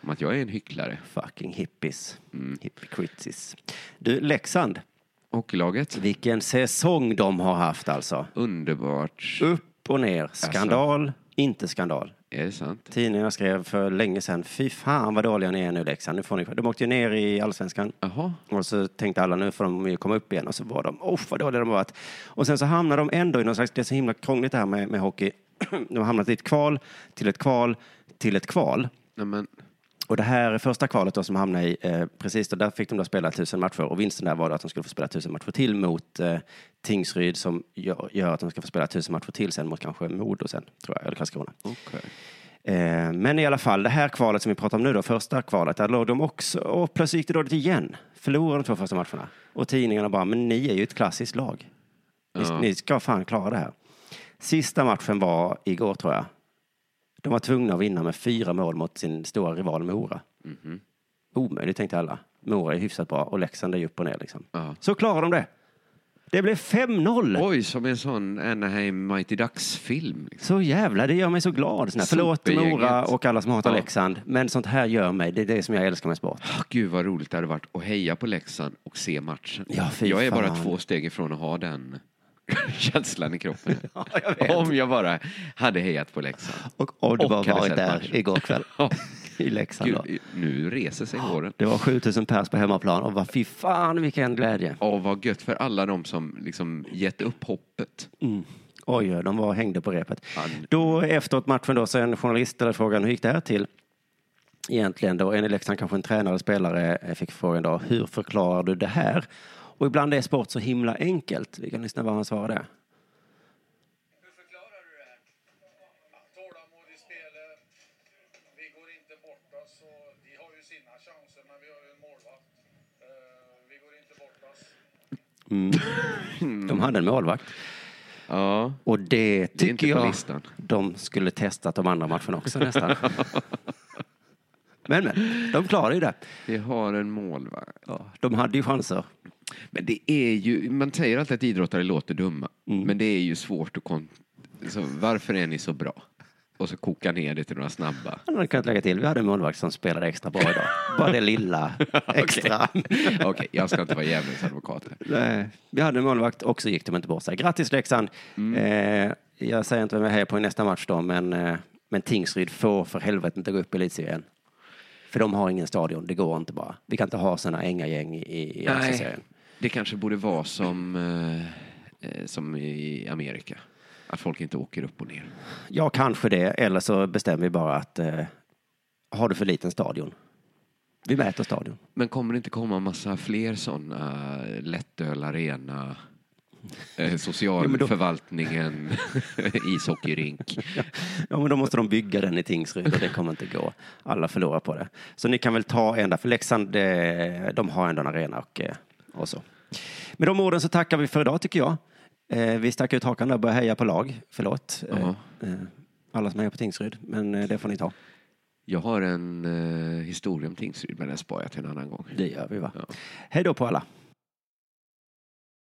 om att jag är en hycklare.
fucking hippies. Hypocritis. Du, Leksand,
Hockeylaget,
vilken säsong de har haft alltså.
underbart.
Upp och ner, skandal, inte skandal.
Är det sant?
Tidningarna skrev för länge sedan, fy fan vad dåliga ni är nu Leksand. Nu får ni... De åkte ju ner i allsvenskan.
Jaha.
Och så tänkte alla nu får de ju komma upp igen och så var de, oh vad dåliga de har varit. Och sen så hamnar de ändå i någon slags, det är så himla krångligt det här med, *clears throat* med hockey. De har hamnat i ett kval, till ett kval, till ett kval.
Nej, men,
Och det här är första kvalet då som hamnade i, eh, precis då, där fick de då spela tusen matcher och vinsten där var då att de skulle få spela tusen matcher till mot eh, Tingsryd som gör, gör att de ska få spela tusen matcher till sen mot kanske Modo sen, tror jag, eller Karlskrona.
Okej.
Eh, men i alla fall, det här kvalet som vi pratar om nu då, första kvalet, där låg de också och plötsligt gick det dåligt igen. Förlorade de två första matcherna. Och tidningarna bara, men ni är ju ett klassiskt lag. Ni, ni ska fan klara det här. Sista matchen var igår tror jag. De var tvungna att vinna med fyra mål mot sin stora rival Mora. Omöjligt tänkte alla. Mora är hyfsat bra och Leksand är ju upp och ner liksom.
Ja.
Så klarar de det. Det blev 5-0.
Oj, som en sån Anaheim Mighty Ducks-film. Liksom.
Så jävla, det gör mig så glad. Sån här. Förlåt
Supergänget.
Mora och alla som hatar
Ja.
Leksand, men sånt här gör mig. Det är det som jag älskar
*laughs*
med sport.
Ah, Gud vad roligt det hade varit att heja på Leksand och se matchen.
Ja, fy
jag är bara
fan.
två steg ifrån att ha den *laughs* känslan i kroppen.
*laughs* jag vet.
Om jag bara hade hejat på Leksand.
Och, och du
Och
bara
hade
varit
sett
där
matchen.
igår kväll
Ja.
i Leksand. Då.
Gud, nu reser sig håren.
Det var 7000 pers på hemmaplan och bara fy fan vilken glädje.
Åh, vad gött för alla de som liksom gett upp hoppet.
Mm. Oj, oj, de var hängde på repet.
Fan.
Då efteråt matchen då så en journalist ställde frågan hur gick det här till? Egentligen då en i Leksand kanske en tränare eller spelare eh, fick frågan då hur förklarar du det här? Och ibland är sport så himla enkelt. Vi kan lyssna vad han svarade.
Hur förklarar du det här? Tålamod i spelet. Vi går inte bort oss. Och de har ju sina chanser, men vi har ju en målvakt. Eh, vi går inte bort oss.
Mm.
De hade en målvakt.
Ja.
Och det
är inte
tycker
på
jag
listan.
de skulle testat de andra matcherna
*laughs*
också nästan. men, men, de klarade ju det.
Vi har en målvakt.
De hade ju chanser.
Men det är ju, man säger alltid att idrottare låter dumma. Men det är ju svårt att kon- så Varför är ni så bra? Och så koka ner det till några snabba.
Han hade kunnat lägga till. Vi hade en målvakt som spelade extra bra idag. Bara
*laughs*
det lilla extra.
Okej, jag ska inte vara djävulens advokat här.
Nej, vi hade en målvakt och så gick de inte bort sig. Grattis Leksand!
Mm.
Eh, jag säger inte vem jag hejar på i nästa match då, men, eh, men Tingsryd får för helvete inte gå upp i elitserien. För de har ingen stadion, det går inte bara. Vi kan inte ha sådana änga gäng i, i serien.
Det kanske borde vara som, eh, eh, som i Amerika. Att folk inte åker upp och ner.
Ja, kanske det, eller så bestämmer vi bara att eh, har du för liten stadion? Vi mäter stadion.
Men kommer det inte komma massa fler sådana lättöl arena, eh, socialförvaltningen, *laughs* ishockeyrink?
Ja, men då måste de bygga den i Tingsryd och det kommer inte gå. Alla förlorar på det. Så ni kan väl ta en där, för Leksand, eh, de har ändå en arena och, eh, och så. Med de orden så tackar vi för idag tycker jag. Eh, Vi stack ut hakan där och började heja på lag. Förlåt. eh,
Jaha.
eh, Alla som hejar på Tingsryd, men eh, det får ni ta.
Jag har en eh, historia om Tingsryd, men den sparar jag till en annan gång.
Det gör vi va?
Ja.
Hej då på alla.